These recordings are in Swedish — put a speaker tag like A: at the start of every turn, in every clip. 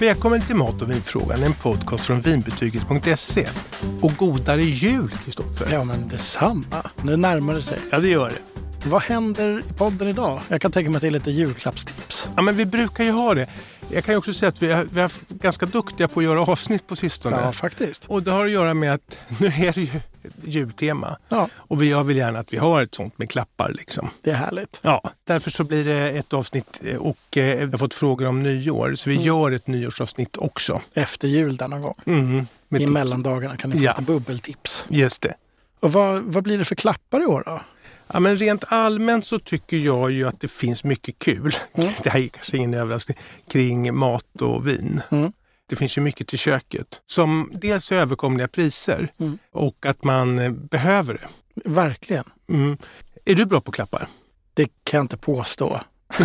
A: Välkommen till Mat och vinfrågan, en podcast från vinbetyget.se. Och godare jul, Kristoffer!
B: Ja, men detsamma. Nu närmar det sig.
A: Ja, det gör det.
B: Vad händer i podden idag? Jag kan tänka mig att det är lite julklappstips.
A: Ja, men vi brukar ju ha det. Jag kan ju också säga att vi har, vi har varit ganska duktiga på att göra avsnitt på sistone.
B: Ja, faktiskt.
A: Och det har att göra med att nu är det ju jultema.
B: Ja,
A: Och vi- jag vill gärna att vi har ett sånt med klappar liksom.
B: det är härligt.
A: Ja, därför så blir det ett avsnitt eh, och eh, jag har fått frågor om nyår. Så vi
B: Mm.
A: gör ett nyårsavsnitt också.
B: Efter jul där någon gång.
A: Mm, med
B: I
A: tips.
B: mellandagarna kan ni få
A: Ja.
B: lite bubbeltips.
A: Just det.
B: Och vad, vad blir det för klappar i år då?
A: Ja, men rent allmänt så tycker jag ju att det finns mycket kul.
B: Mm.
A: Det här är kanske ingen överraskning. Kring mat och vin.
B: Mm.
A: Det finns ju mycket till köket. Som dels är överkomliga priser
B: Mm.
A: och att man eh, behöver det.
B: Verkligen.
A: Mm. Är du bra på klappar?
B: Det kan jag inte påstå.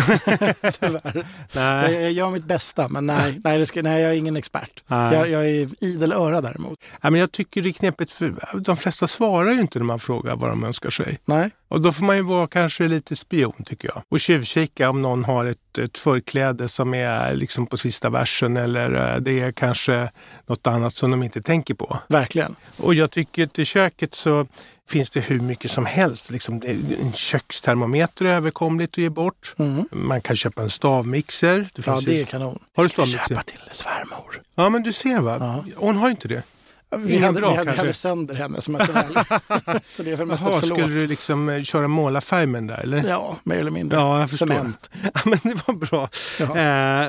B: Tyvärr. Jag,
A: Nej.
B: jag gör mitt bästa, men nej, nej, det ska, nej jag är ingen expert.
A: Nej.
B: Jag, jag är idel öra däremot.
A: Ja, men jag tycker det är knepigt för de flesta svarar ju inte när man frågar vad de önskar sig.
B: Nej,
A: Och då får man ju vara kanske lite spion tycker jag. Och tjuvkika om någon har ett, ett förkläde som är liksom på sista versen eller eh, det är kanske något annat som de inte tänker på.
B: verkligen.
A: Och jag tycker att i köket så finns det hur mycket som helst. Liksom det- en kökstermometer är överkomligt att ge bort.
B: Mm.
A: Man kan köpa en stavmixer. Det
B: Ja,
A: finns
B: det
A: ju-
B: är kanon.
A: Har du
B: Ska vi
A: stavmixer?
B: köpa till svärmor?
A: ja men du ser va?
B: Ja.
A: Hon har ju inte det.
B: Vi
A: Ingen
B: hade,
A: bra,
B: vi hade, vi hade
A: kanske?
B: sönder henne som jag väl. Så det är väl mest
A: Jaha,
B: ett förlåt.
A: skulle du liksom eh, köra målarfärg med den där eller?
B: Ja, mer eller mindre.
A: Ja, jag förstår.
B: Cement.
A: Ja, men det var bra.
B: Ja.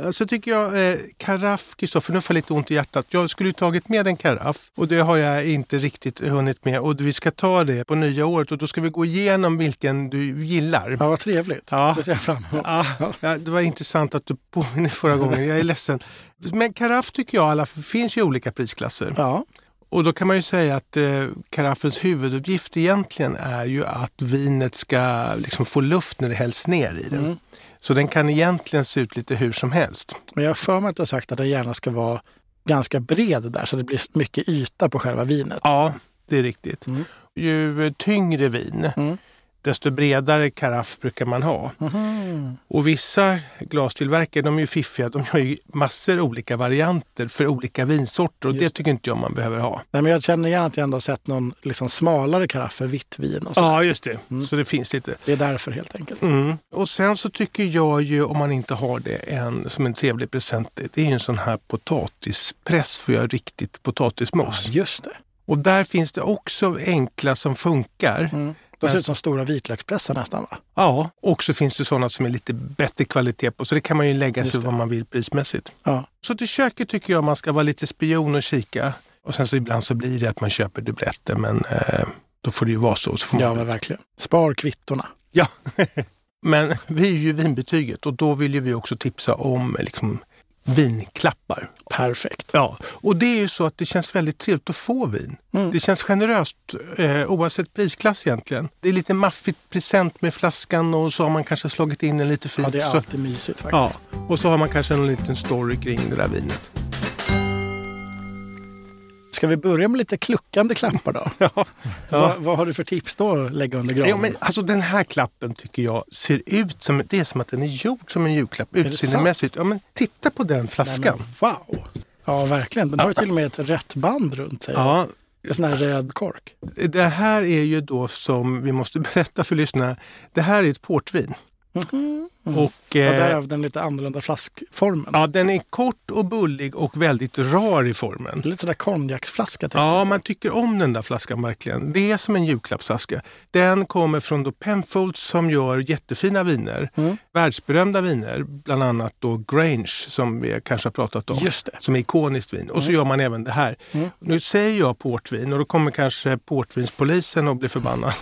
A: Eh, så tycker jag, eh, karaff, Kristoffer, nu får jag lite ont i hjärtat. Jag skulle ju tagit med en karaff och det har jag inte riktigt hunnit med. Och vi ska ta det på nya året och då ska vi gå igenom vilken du gillar.
B: ja, vad trevligt.
A: Ja.
B: Det ser jag fram emot.
A: Ja, ja, det var intressant att du påminner förra gången. Jag är ledsen. Men karaff tycker jag alla, för det finns ju olika prisklasser.
B: Ja,
A: Och då kan man ju säga att eh, karaffens huvuduppgift egentligen är ju att vinet ska liksom få luft när det hälls ner i den. Så den kan egentligen se ut lite hur som helst.
B: men jag har för mig att du har sagt att den gärna ska vara ganska bred där så det blir mycket yta på själva vinet.
A: Ja, det är riktigt.
B: Mm.
A: Ju eh, tyngre vin,
B: Mm.
A: desto bredare karaff brukar man ha.
B: Mhm.
A: Och vissa glastillverkare, de är ju fiffiga, de har ju massor olika varianter för olika vinsorter och
B: Just
A: det tycker inte jag man behöver ha.
B: Nej, men jag känner gärna att jag ändå har sett någon liksom smalare karaff för vitt vin. Och så.
A: Ja, just det. Så det finns lite.
B: Det är därför helt enkelt.
A: Mm. Och sen så tycker jag ju, om man inte har det en, som en trevlig present, det är ju en sån här potatispress för att göra riktigt
B: Ja,
A: potatismos.
B: just det.
A: Och där finns det också enkla som funkar.
B: Mm. De ser ut som stora vitlökspressar nästan va?
A: Ja, och så finns det sådana som är lite bättre kvalitet på, så det kan man ju lägga
B: Just
A: sig
B: det.
A: vad man vill prismässigt.
B: Ja.
A: Så till köket tycker jag man ska vara lite spion och kika. Och sen så ibland så blir det att man köper dubbletter, men eh, då får det ju vara så. så får man...
B: ja, men verkligen. Spar kvittorna.
A: Ja. Men vi är ju vinbetyget och då vill ju vi också tipsa om eh, liksom, vinklappar.
B: Perfekt.
A: Ja, och det är ju så att det känns väldigt trevligt att få vin.
B: Mm.
A: Det känns generöst eh, oavsett prisklass egentligen. Det är lite maffigt present med flaskan och så har man kanske slagit in en lite fin...
B: Ja, det är
A: så,
B: alltid mysigt faktiskt.
A: ja, och så har man kanske en liten story kring det där vinet.
B: Ska vi börja med lite kluckande klappar då?
A: Ja.
B: Vad, vad har du för tips då att lägga under granen?
A: Jo, men alltså den här klappen tycker jag ser ut som, det är som att den är gjord som en julklapp
B: sant?
A: utseendemässigt. Ja, men titta på den
B: Nej,
A: flaskan.
B: men, wow! Ja, verkligen. Den har ju till och med ett rätt band runt sig.
A: Ja,
B: En sån här röd kork.
A: det här är ju då som vi måste berätta för lyssnarna. Det här är ett portvin. Och,
B: Ja,
A: eh,
B: därav den lite annorlunda flaskformen.
A: ja, den är kort och bullig och väldigt rar i formen.
B: Lite sådär konjaksflaska. typ. tänker
A: Ja, man tycker om den där flaskan verkligen. Det är som en julklappsflaska. Den kommer från då Penfolds som gör jättefina viner.
B: Mm.
A: Världsberömda viner, bland annat då Grange som vi kanske har pratat om.
B: jag. Just det. Mm.
A: som är ikoniskt vin. Och så gör man även det här. Nu säger jag portvin och då kommer kanske portvinspolisen att bli förbannad.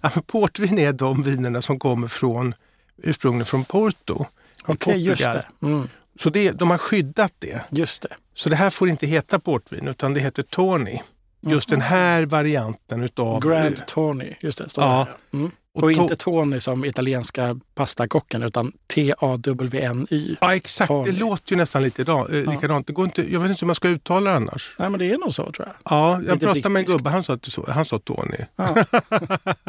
A: ja, men portvin är de vinerna som kommer från ursprungligen från Porto. i
B: Okej, just
A: Portugal.
B: det. Mm,
A: Så det, de har skyddat det.
B: just det.
A: Så det här får inte heta portvin utan det heter Tony. Just den här varianten utav...
B: Grand Tony. Just det, står
A: Ja.
B: det. här. Mm. Och, inte Tony som italienska pastakocken utan T-A-W-N-Y.
A: Ja, exakt.
B: Tony.
A: Det låter ju nästan lite idag, eh,
B: Ja.
A: likadant. Det går inte, jag vet inte hur man ska uttala det annars.
B: Nej men det är nog så tror jag.
A: Ja, jag
B: Lite
A: pratade med en
B: brittiskt.
A: gubbe, han sa, att det så- han sa Tony.
B: Ja.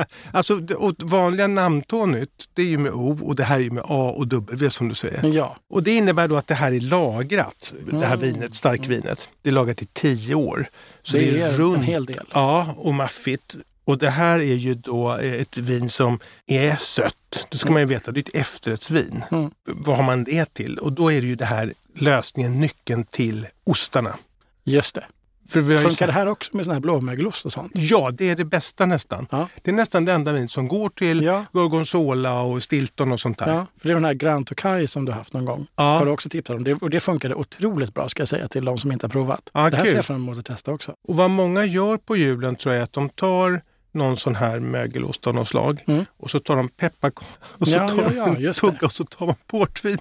A: Alltså, det- och vanliga namntonyt, det är ju med O och det här är ju med A och W som du säger.
B: Men ja.
A: Och det innebär då att det här är lagrat, det här vinet, starkvinet. Det är lagrat i tio år. Så det, är, runt.
B: en hel del.
A: Ja, och maffigt. Och det här är ju då eh, ett vin som är sött. Då ska man ju veta, det är ett efterrättsvin.
B: Mm.
A: Vad har man det till? Och då är det ju det här lösningen, nyckeln till ostarna.
B: Just det.
A: För vi har ju
B: Funkar det här också med sån här blåmögelost och sånt?
A: Ja, det är det bästa nästan.
B: Ja.
A: Det är nästan det enda vin som går till
B: Ja.
A: gorgonzola och stilton och sånt där.
B: Ja, för det är den här Grand Tokaj som du haft någon gång.
A: Ja.
B: Har du också tipsat om. Det, och det funkade otroligt bra ska jag säga till de som inte har provat.
A: Ja,
B: det här ser
A: Ah, kul.
B: jag fram emot att testa också.
A: Och vad många gör på julen tror jag är att de tar någon sån här mögelost av något slag
B: Mm.
A: och så tar de pepparkorn och så
B: Ja,
A: tar
B: ja,
A: de
B: ja,
A: en
B: just det.
A: tugga och så tar man portvin.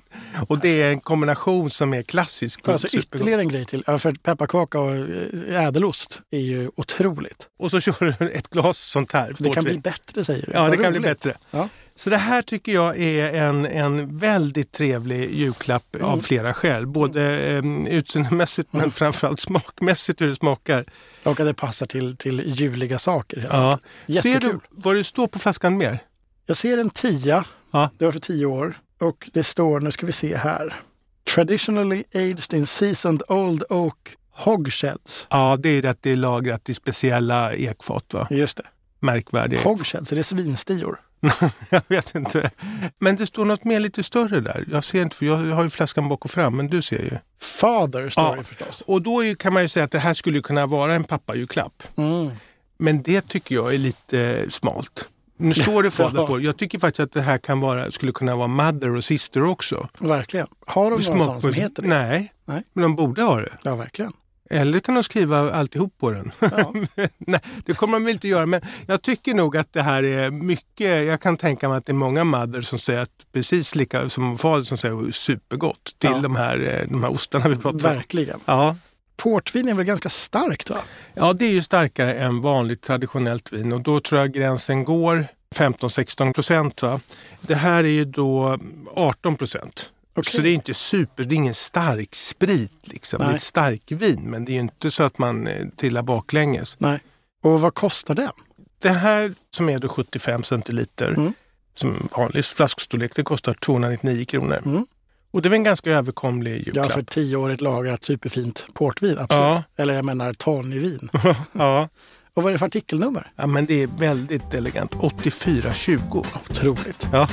A: Och det är en kombination som är klassisk. och
B: Alltså
A: supergod.
B: ytterligare en grej till. Ja, för pepparkaka och eh, ädelost är ju otroligt.
A: Och så kör du ett glas sånt här.
B: Så det kan
A: portvin.
B: bli bättre säger du.
A: Ja, det
B: Vad
A: kan bli
B: roligt.
A: bättre.
B: Ja.
A: Så det här tycker jag är en, en väldigt trevlig julklapp av
B: Mm.
A: flera skäl. Både eh, utseendemässigt men framförallt smakmässigt hur det smakar.
B: Och att det passar till, till juliga saker. helt
A: Ja. Ser
B: Jättekul.
A: du vad det står på flaskan mer?
B: Jag ser en tia.
A: Ja.
B: Det var för tio år. Och det står, nu ska vi se här. Traditionally aged in seasoned old oak hogsheads.
A: Ja, det är det att det är lagrat i speciella ekfat. Va?
B: Just det.
A: Märkvärdiga.
B: Hogsheads, är det svinstior?
A: jag vet inte. Men det står något mer lite större där. Jag ser inte, för jag har ju flaskan bak och fram, men du ser ju.
B: Father står
A: Ja.
B: det förstås.
A: Och då är- kan man ju säga att det här skulle kunna vara en pappajulklapp.
B: Mm.
A: Men det tycker jag är lite smalt. Nu står det fader på det. Jag tycker faktiskt att det här kan vara, skulle kunna vara mother och sister också.
B: Verkligen. Har de någon sån som
A: Smak-
B: heter det?
A: Nej,
B: Nej.
A: men de borde ha det.
B: Ja, verkligen.
A: Eller kan de skriva alltihop på den?
B: Ja.
A: Nej, det kommer de väl inte göra. Men jag tycker nog att det här är mycket... Jag kan tänka mig att det är många mother som säger att precis lika som fader som säger supergott till
B: Ja.
A: de, här, eh, de här ostarna vi pratar om.
B: verkligen.
A: Ja.
B: Portvin är väl ganska starkt va?
A: ja, det är ju starkare än vanligt traditionellt vin och då tror jag gränsen går 15-16 procent. Va? Det här är ju då 18 procent.
B: Okej.
A: Så det är inte super, det är ingen stark sprit liksom. Det är
B: Nej.
A: ett stark vin men det är ju inte så att man eh, trillar baklänges.
B: Nej. Och vad kostar den?
A: Det här som är då 75 centiliter,
B: Mm.
A: som vanlig flaskstorlek, det kostar 299 kronor.
B: Mm.
A: Och det är väl en ganska överkomlig
B: Ja,
A: julklapp.
B: för tioårigt lagrat superfint portvin. Absolut.
A: Ja,
B: Eller jag menar tonvin.
A: ja.
B: Och vad är det för artikelnummer?
A: ja, men det är väldigt elegant. 8420.
B: Otroligt.
A: Ja.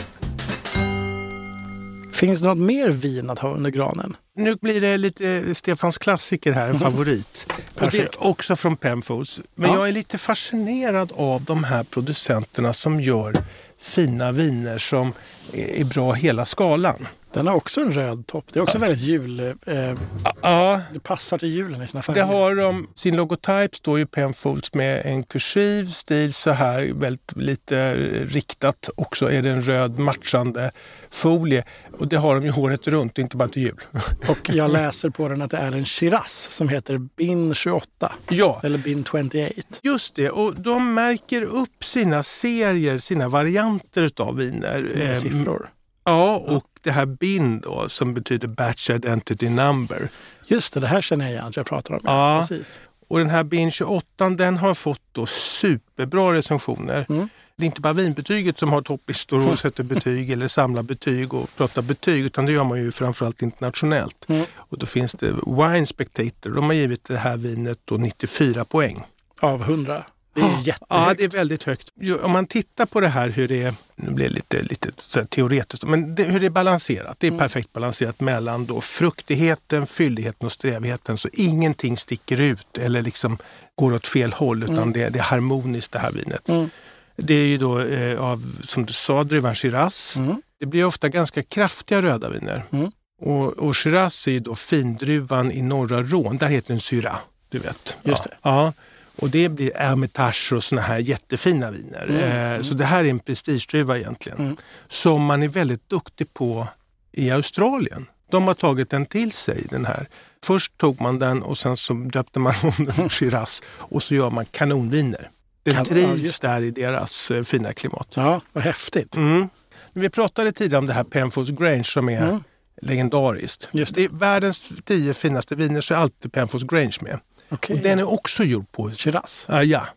B: Finns det något mer vin att ha under granen?
A: Nu blir det lite Stefans klassiker här, en favorit. Och det
B: Mm. Perfekt.
A: är också från Penfolds. Men
B: Ja.
A: jag är lite fascinerad av de här producenterna som gör fina viner som är är bra hela skalan.
B: Den har också en röd topp. Det är också väldigt jul... Eh,
A: Ja,
B: det passar till julen i sina
A: Det
B: färger.
A: har de, sin logotyp står ju Penfolds med en kursiv stil så här, väldigt lite eh, riktat och så är det en röd matchande folie. Och det har de ju året runt, inte bara till jul.
B: Och jag läser på den att det är en Shiraz som heter Bin 28.
A: ja,
B: Eller Bin 28.
A: just det. Och de märker upp sina serier, sina varianter utav viner.
B: Med
A: Eh,
B: siffror.
A: Ja, och det här BIN då som betyder Batch Identity Number.
B: Just det, det här känner jag igen att jag pratar om.
A: Ja.
B: Precis.
A: Och den här BIN 28 den har fått då superbra recensioner.
B: Mm.
A: Det är inte bara vinbetyget som har topplistor och sätter betyg eller samlar betyg och pratar betyg utan det gör man ju framförallt internationellt.
B: Mm.
A: Och då finns det Wine Spectator. De har givit det här vinet då 94 poäng.
B: Av 100. Det är ju jättehögt.
A: Ja, det är väldigt högt. Jo, Om man tittar på det här hur det är, nu blir det lite, lite så här teoretiskt, men det, hur det är balanserat. Det är perfekt balanserat mellan då fruktigheten, fylligheten och strävheten. Så ingenting sticker ut eller liksom går åt fel håll utan det, det är harmoniskt det här vinet.
B: Mm.
A: Det är ju då eh, av, som du sa, druvan Shiraz.
B: Mm.
A: Det blir ofta ganska kraftiga röda viner.
B: Mm.
A: Och, och Shiraz är ju då findruvan i norra Rhône. Där heter den Syrah, du vet.
B: Just
A: ja. Ja. Och det blir Hermitage och såna här jättefina viner. Eh, så det här är en prestigedruva egentligen.
B: Mm.
A: Som man är väldigt duktig på i Australien. De har tagit den till sig, den här. Först tog man den och sen så döpte man om den till Shiraz. Och så gör man kanonviner. Det
B: Kan- ja,
A: trivs
B: just
A: där i deras eh, fina klimat.
B: Ja, vad häftigt.
A: Mm. Vi pratade tidigare om det här Penfolds Grange som är
B: Mm.
A: legendariskt.
B: Just
A: det. är världens tio finaste viner så är alltid Penfolds Grange med.
B: Okej.
A: Och den är också gjord på
B: Shiraz.
A: Ah, ja.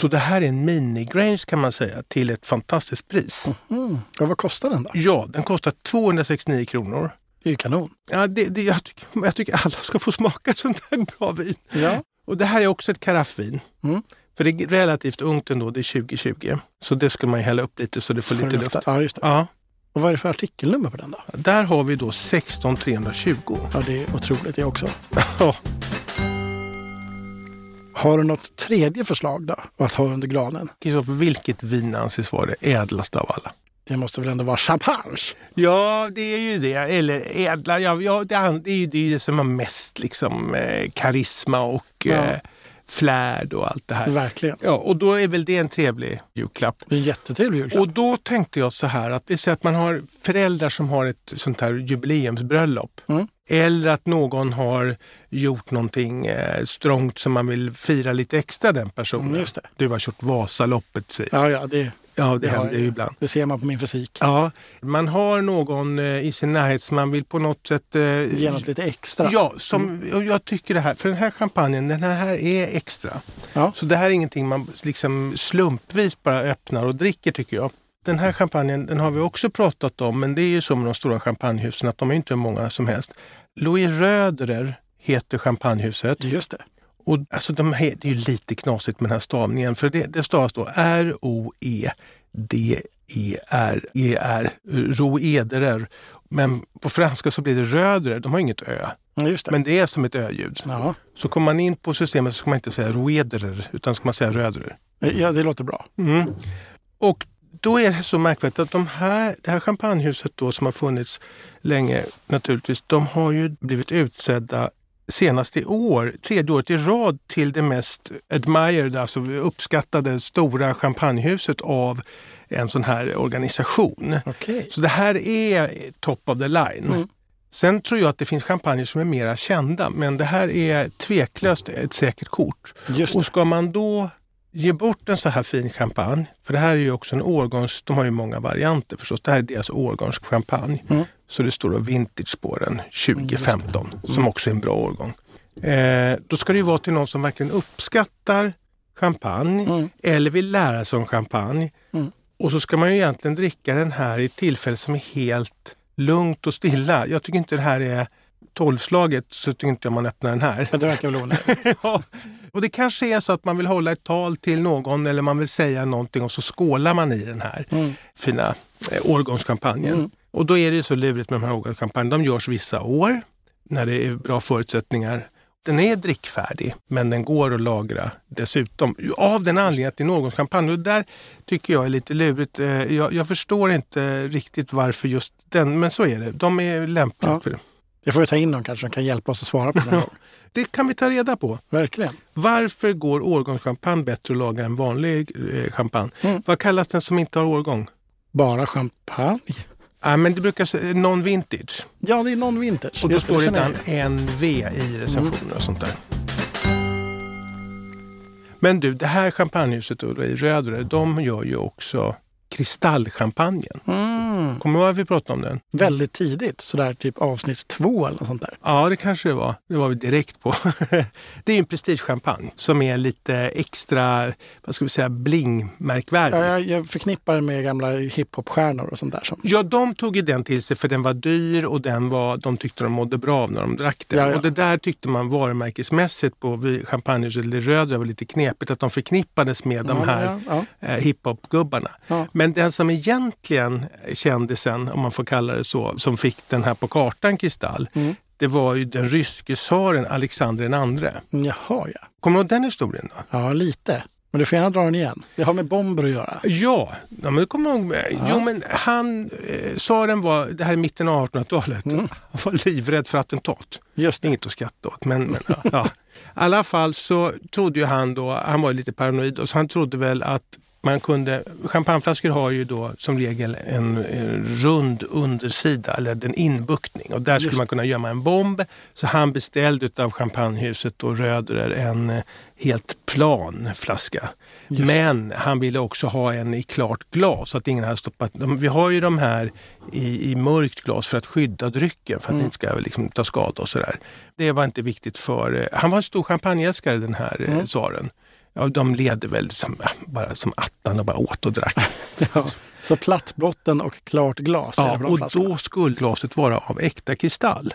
A: Så det här är en mini-Grange kan man säga till ett fantastiskt pris.
B: Mm. Ja, vad kostar den då?
A: Ja, den kostar 269 kronor.
B: Det är ju kanon.
A: Ja, det, det, jag, tycker, jag tycker alla ska få smaka sånt här bra vin.
B: Ja.
A: Och det här är också ett karaffvin.
B: Mm.
A: För det är relativt ungt ändå, det är 2020. Så det skulle man ju hälla upp lite så det får
B: Får
A: lite
B: den
A: luft.
B: lufta? Ja, just det.
A: Ja,
B: Och vad är det för artikelnummer på den då?
A: där har vi då 16320.
B: Ja, det är otroligt det också.
A: Ja,
B: Har du något tredje förslag då? Att ha under granen?
A: Kristoffer, vilket vin anses vara det ädlaste av alla?
B: Det måste väl ändå vara champagne?
A: Ja, det är ju det. Eller ädla. Ja, ja, det, an- det är ju det, är ju det som har mest liksom, eh, karisma och
B: Ja.
A: eh, flärd och allt det här.
B: Verkligen.
A: Ja, och då är väl det en trevlig julklapp.
B: Det är en jättetrevlig julklapp.
A: Och då tänkte jag så här att vi säger att man har föräldrar som har ett sånt här jubileumsbröllop.
B: Mm.
A: Eller att någon har gjort någonting eh, strångt som man vill fira lite extra den personen.
B: Mm, just det.
A: Du har kört Vasaloppet, säger
B: Ja, ja, det,
A: Ja, det
B: Ja,
A: händer ju
B: ja.
A: ibland.
B: det ser man på min fysik.
A: Ja, man har någon eh, i sin närhet som man vill på något sätt... eh,
B: Ge något lite extra. Mm.
A: Ja, som, och jag tycker det här, för den här champagnen, den här är extra.
B: Ja.
A: Så det här är ingenting man liksom slumpvis bara öppnar och dricker tycker jag. Den här champagnen, den har vi också pratat om, men det är ju så med de stora champagnehusen att de är inte hur många som helst. Louis Röderer heter champagnehuset
B: Just det.
A: och alltså de här, det är ju lite knasigt med den här stavningen för det, det stavas då E R-O-E-D-E-R-E-R, Roederer. Men på franska så blir det Röderer, de har inget Ö,
B: Ja, just det.
A: men det är som ett ö-ljud.
B: Ja.
A: Så kommer man in på systemet så ska man inte säga roederer utan ska man säga röderer.
B: ja, det låter bra.
A: Mm. Och då är det så märkvärdigt att de här, det här champagnehuset då som har funnits länge naturligtvis, de har ju blivit utsedda senast i år, tredje året i rad till det mest admired, alltså uppskattade stora champagnehuset av en sån här organisation.
B: Okej.
A: Så det här är top of the line.
B: Mm.
A: Sen tror jag att det finns champagne som är mera kända, men det här är tveklöst ett säkert kort.
B: Just
A: Och
B: det.
A: ska man då ge bort en så här fin champagne, för det här är ju också en årgångs, de har ju många varianter förstås, det här är deras årgångschampagne.
B: Mm.
A: Så det står då vintage på den 2015,
B: Mm.
A: som också är en bra årgång. Eh, då ska det ju vara till någon som verkligen uppskattar champagne
B: Mm.
A: eller vill lära sig om champagne.
B: Mm.
A: Och så ska man ju egentligen dricka den här i ett tillfälle som är helt lugnt och stilla. Jag tycker inte det här är tolvslaget så tycker inte jag man öppnar den här.
B: Ja, det verkar väl onödigt.
A: ja. Och det kanske är så att man vill hålla ett tal till någon eller man vill säga någonting och så skålar man i den här
B: Mm.
A: fina eh, årgångskampanjen.
B: Mm.
A: Och då är det ju så lurigt med de här årgångskampanjerna. De görs vissa år när det är bra förutsättningar. Den är drickfärdig, men den går att lagra dessutom. Av den anledningen att det är en årgångskampanj. Och där tycker jag är lite lurigt. Eh, Jag, jag förstår inte riktigt varför just den, men så är det. De är lämpliga
B: Ja.
A: för det.
B: Jag får ju ta in någon kanske som kan hjälpa oss att svara på den här gången.
A: Det kan vi ta reda på.
B: Verkligen.
A: Varför går årgångschampagne bättre att lagra än vanlig eh, champagne?
B: Mm.
A: Vad kallas den som inte har årgång?
B: Bara champagne.
A: Ah, men det brukar säga non-vintage.
B: Ja, det är någon vintage.
A: Och då
B: Just
A: står det
B: känner jag Mm.
A: ibland NV i recensioner och sånt där. Men du, det här champagnehuset då, i Rödre, de gör ju också kristallchampagnen.
B: ju. Mm.
A: Kommer du ihåg att vi pratade om den?
B: Väldigt tidigt, sådär typ avsnitt två eller något sånt där.
A: Ja, det kanske det var. Det var vi direkt på. det är ju en prestigechampagne som är lite extra, vad ska vi säga, bling-märkvärdig.
B: Ja, Jag, jag förknippar det med gamla hiphopstjärnor och sånt där. Som.
A: Ja, de tog ju den till sig för den var dyr och den var, de tyckte de mådde bra av när de drack den.
B: Ja, ja.
A: Och det där tyckte man varumärkesmässigt på vi- champagnehuset Le Rödre var lite knepigt att de förknippades med de
B: Ja,
A: här
B: Ja, ja.
A: eh, hiphopgubbarna.
B: Ja.
A: Men den som egentligen eh, kändisen, om man får kalla det så, som fick den här på kartan Kristall,
B: Mm.
A: det var ju den ryske tsaren Alexander den andre.
B: mm, Jaha, ja.
A: Kommer du ihåg den historien? Då?
B: Ja, lite. Men du får gärna dra den igen. Det har med bomber att göra.
A: Ja, ja men du kommer ihåg mig. Jo, men han, eh, tsaren var, det här är mitten av 1800-talet, han var livrädd för attentat.
B: Just det.
A: Inget att skratta åt, men, men ja, ja. I alla fall så trodde ju han då, han var ju lite paranoid, och så han trodde väl att Man kunde, champagneflaskor har ju då som regel en, en rund undersida, eller en inbuktning. Och där skulle
B: Just.
A: man kunna gömma en bomb. Så han beställde utav champagnehuset och Röder en eh, helt plan flaska.
B: Just.
A: Men han ville också ha en i klart glas så att ingen hade stoppat. De, vi har ju de här i, i mörkt glas för att skydda drycken för att
B: Mm.
A: inte ska liksom, ta skada och sådär. Det var inte viktigt för... eh, Han var en stor champagneälskare den här eh,
B: Mm.
A: tsaren. Ja, de levde väl som, ja, bara som attan och bara åt och drack.
B: Ja. Så plattbotten och klart glas är det
A: Ja,
B: på de
A: och
B: flaskorna. Mm.
A: då skulle glaset vara av äkta kristall.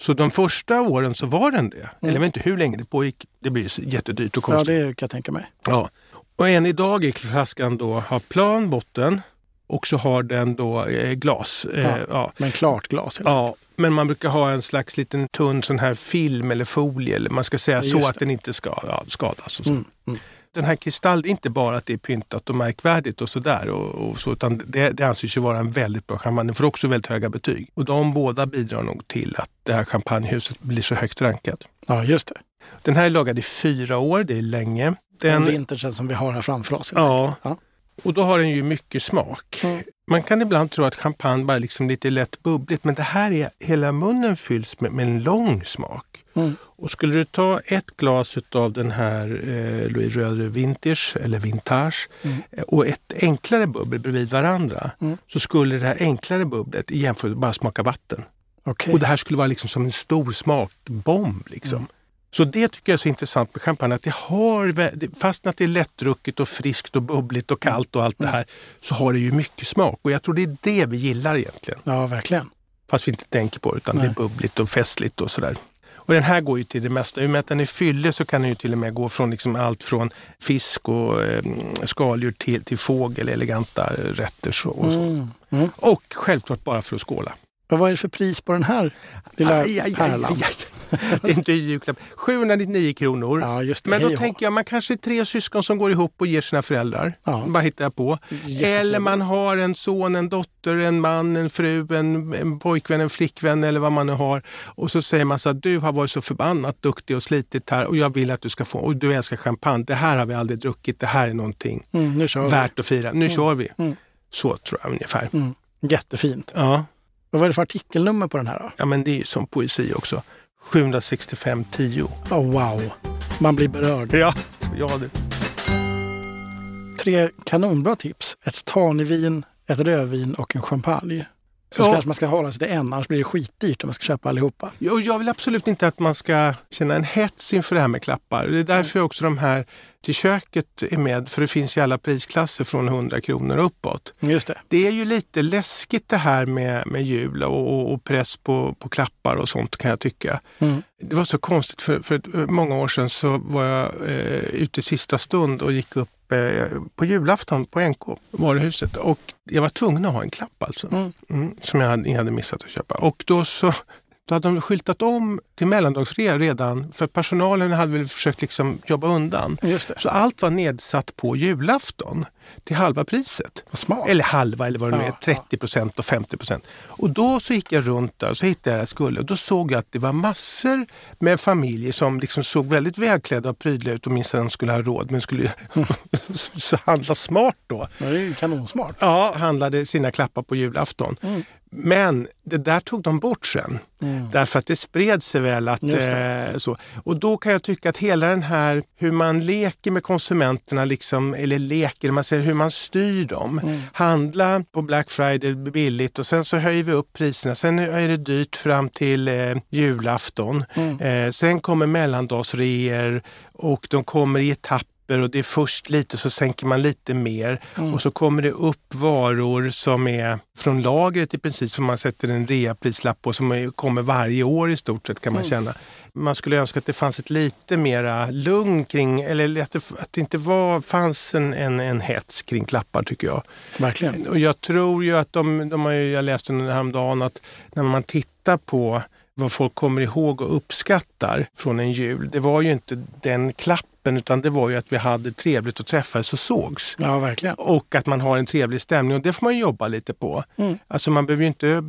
A: Så de första åren så var den det. Eller jag vet inte hur länge det pågick. Det blir ju jättedyrt och
B: Ja,
A: konstigt.
B: det kan jag tänka mig.
A: Ja. Och än idag är flaskan då har plan botten och så har den då eh, glas. Eh,
B: Ja.
A: ja.
B: Men klart glas. Ja.
A: Ja, men man brukar ha en slags liten tunn sån här film eller folie, eller man ska säga
B: Ja,
A: så
B: just
A: att
B: det.
A: den inte ska ja, skadas. Och så.
B: Mm, mm.
A: Den här kristall, det är inte bara att det är pyntat och märkvärdigt och sådär, och, och så, utan det, det anses ju vara en väldigt bra champagne. Den får också väldigt höga betyg. Och de båda bidrar nog till att det här champagnehuset blir så högt rankat.
B: ja, just det.
A: Den här är lagad i fyra år, det är länge.
B: Den
A: Den,
B: vintern som vi har här framför oss.
A: Ja.
B: Ja.
A: Och då har den ju mycket smak.
B: Mm.
A: Man kan ibland tro att champagne bara liksom lite lätt bubbligt, men det här är, hela munnen fylls med, med en lång smak.
B: Mm.
A: Och skulle du ta ett glas av den här eh, Louis Röder Vintage, eller Vintage,
B: Mm.
A: eh, och ett enklare bubbel bredvid varandra,
B: Mm.
A: så skulle det här enklare bubblet i jämförelse bara smaka vatten.
B: Okej.
A: Och det här skulle vara liksom som en stor smakbomb. Liksom.
B: Mm.
A: Så det tycker jag är så intressant med champagne. Att det har, vä- det- fastän att det är lättdrucket och friskt och bubbligt och kallt och allt
B: Mm.
A: det här så har det ju mycket smak. Och jag tror det är det vi gillar egentligen.
B: Ja, verkligen.
A: Fast vi inte tänker på det utan det
B: Nej.
A: är bubbligt och festligt och sådär. Och den här går ju till det mesta. I och med att den är fyllig så kan den ju till och med gå från liksom allt från fisk och eh, skaldjur till, till fågel, eleganta eh, rätter så, och så.
B: Mm. Mm.
A: Och självklart bara för att skåla.
B: Och vad är det för pris på den här lilla
A: Aj, aj, aj,
B: pärlan?
A: aj, aj. Det är inte julklapp. 799 kronor.
B: Ja, just det.
A: Men
B: Hej
A: då
B: och
A: tänker jag man kanske är tre syskon som går ihop och ger sina föräldrar.
B: Ja.
A: Bara hittar jag på.
B: hå.
A: Mm, Eller man har en son, en dotter, en man, en fru, en, en pojkvän, en flickvän eller vad man nu har. Och så säger man så att du har varit så förbannat duktig och slitit här och jag vill att du ska få, och du älskar champagne, det här har vi aldrig druckit, det här är någonting
B: Mm, nu kör vi.
A: värt att fira. Nu kör vi.
B: Mm.
A: Så tror jag ungefär.
B: Mm. Jättefint.
A: Ja.
B: Och vad är det för artikelnummer på den här då?
A: ja, men det är ju som poesi också. 765 10.
B: Oh, wow, man blir berörd.
A: Ja, ja du.
B: Tre kanonbra tips. Ett tanivin, ett rödvin och en champagne. Så
A: Ja.
B: kanske man ska hålla sig till en, annars blir det skitdyrt om man ska köpa allihopa.
A: Ja, och Jag vill absolut inte att man ska känna en hets inför det här med klappar. Det är därför också de här till köket är med, för det finns ju alla prisklasser från 100 kronor uppåt.
B: Mm, Just det.
A: Det är ju lite läskigt det här med, med jul och, och, och press på, på klappar och sånt kan jag tycka.
B: Mm.
A: Det var så konstigt för, för ett- många år sedan så var jag eh, ute i sista stund och gick upp eh, på julafton på NK, varuhuset. Och jag var tvungen att ha en klapp alltså.
B: Mm.
A: Mm, som jag hade, jag hade missat att köpa. Och då så då hade de skyltat om till mellandagsrea redan för personalen hade väl försökt liksom jobba undan.
B: Mm, Just det.
A: Så allt var nedsatt på julafton till halva priset.
B: Vad smart.
A: Eller halva eller vad det nu är,
B: Ja,
A: 30 procent och 50 procent. Och då så gick jag runt där och så hittade jag det jag skulle och då såg jag att det var massor med familjer som liksom såg väldigt välklädda och prydliga ut och minsann skulle ha råd men skulle ju så handla smart då.
B: Det är ju kanonsmart.
A: Ja, handlade sina klappar på julafton.
B: Mm.
A: Men det där tog de bort sen.
B: Mm.
A: Därför att det spred sig väl att...
B: Just
A: Eh, så. Och då kan jag tycka att hela den här hur man leker med konsumenterna, liksom, eller leker, man säger hur man styr dem. Handla på Black Friday billigt och sen så höjer vi upp priserna. Sen är det dyrt fram till eh, julafton.
B: Mm.
A: Eh, sen kommer mellandagsreor och de kommer i etapper papper och det är först lite så sänker man lite mer
B: Mm.
A: och så kommer det upp varor som är från lagret i princip som man sätter en reaprislapp på som är- kommer varje år i stort sett kan man känna. Man skulle önska att det fanns ett lite mera lugn kring, eller att det, att det inte var, fanns en, en, en hets kring klappar tycker jag.
B: Verkligen.
A: Och jag tror ju att de, de har ju, jag läste nu häromdagen att när man tittar på vad folk kommer ihåg och uppskattar från en jul. Det var ju inte den klappen utan det var ju att vi hade trevligt och träffades och sågs.
B: Ja, verkligen.
A: Och att man har en trevlig stämning och det får man ju jobba lite på.
B: Mm.
A: Alltså man behöver ju inte eh,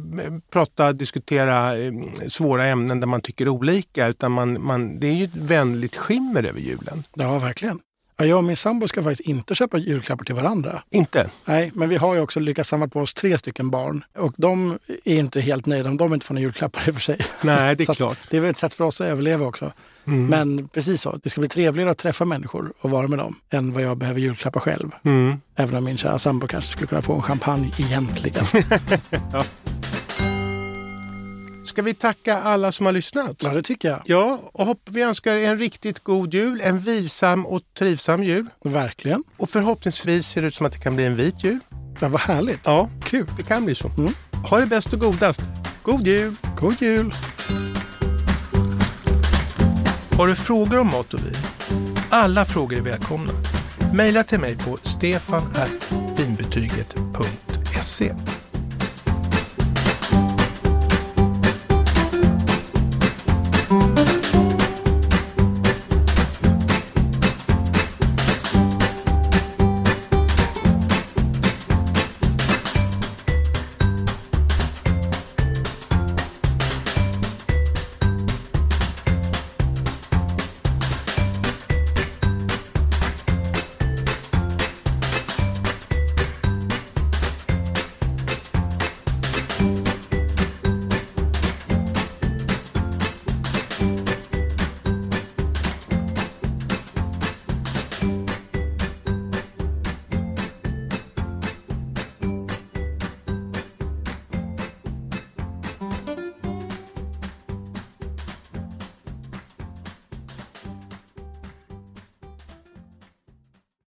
A: prata, diskutera eh, svåra ämnen där man tycker olika utan man, man, det är ju ett vänligt skimmer över julen.
B: Ja, verkligen. Ja, Ja, jag och min sambo ska faktiskt inte köpa julklappar till varandra.
A: Inte?
B: Nej, men vi har ju också lyckats samla på oss tre stycken barn och de är inte helt nöjda om de inte får några julklappar i och för sig.
A: Nej, det är
B: Så att
A: klart.
B: Det är väl ett sätt för oss att överleva också.
A: Mm.
B: Men precis så, det ska bli trevligare att träffa människor och vara med dem än vad jag behöver julklappar själv.
A: Mm.
B: Även om min kära sambo kanske skulle kunna få en champagne egentligen.
A: Ska vi tacka alla som har lyssnat?
B: ja, det tycker jag.
A: Ja, och hopp, vi önskar er en riktigt god jul, en vilsam och trivsam jul.
B: Verkligen.
A: Och förhoppningsvis ser det ut som att det kan bli en vit jul.
B: Ja, vad härligt.
A: Ja,
B: Kul.
A: det kan bli så.
B: Mm.
A: Ha det bäst och godast. God jul!
B: God jul.
A: Har du frågor om mat och vin? Alla frågor är välkomna. Mejla till mig på stefanvinbetyget.se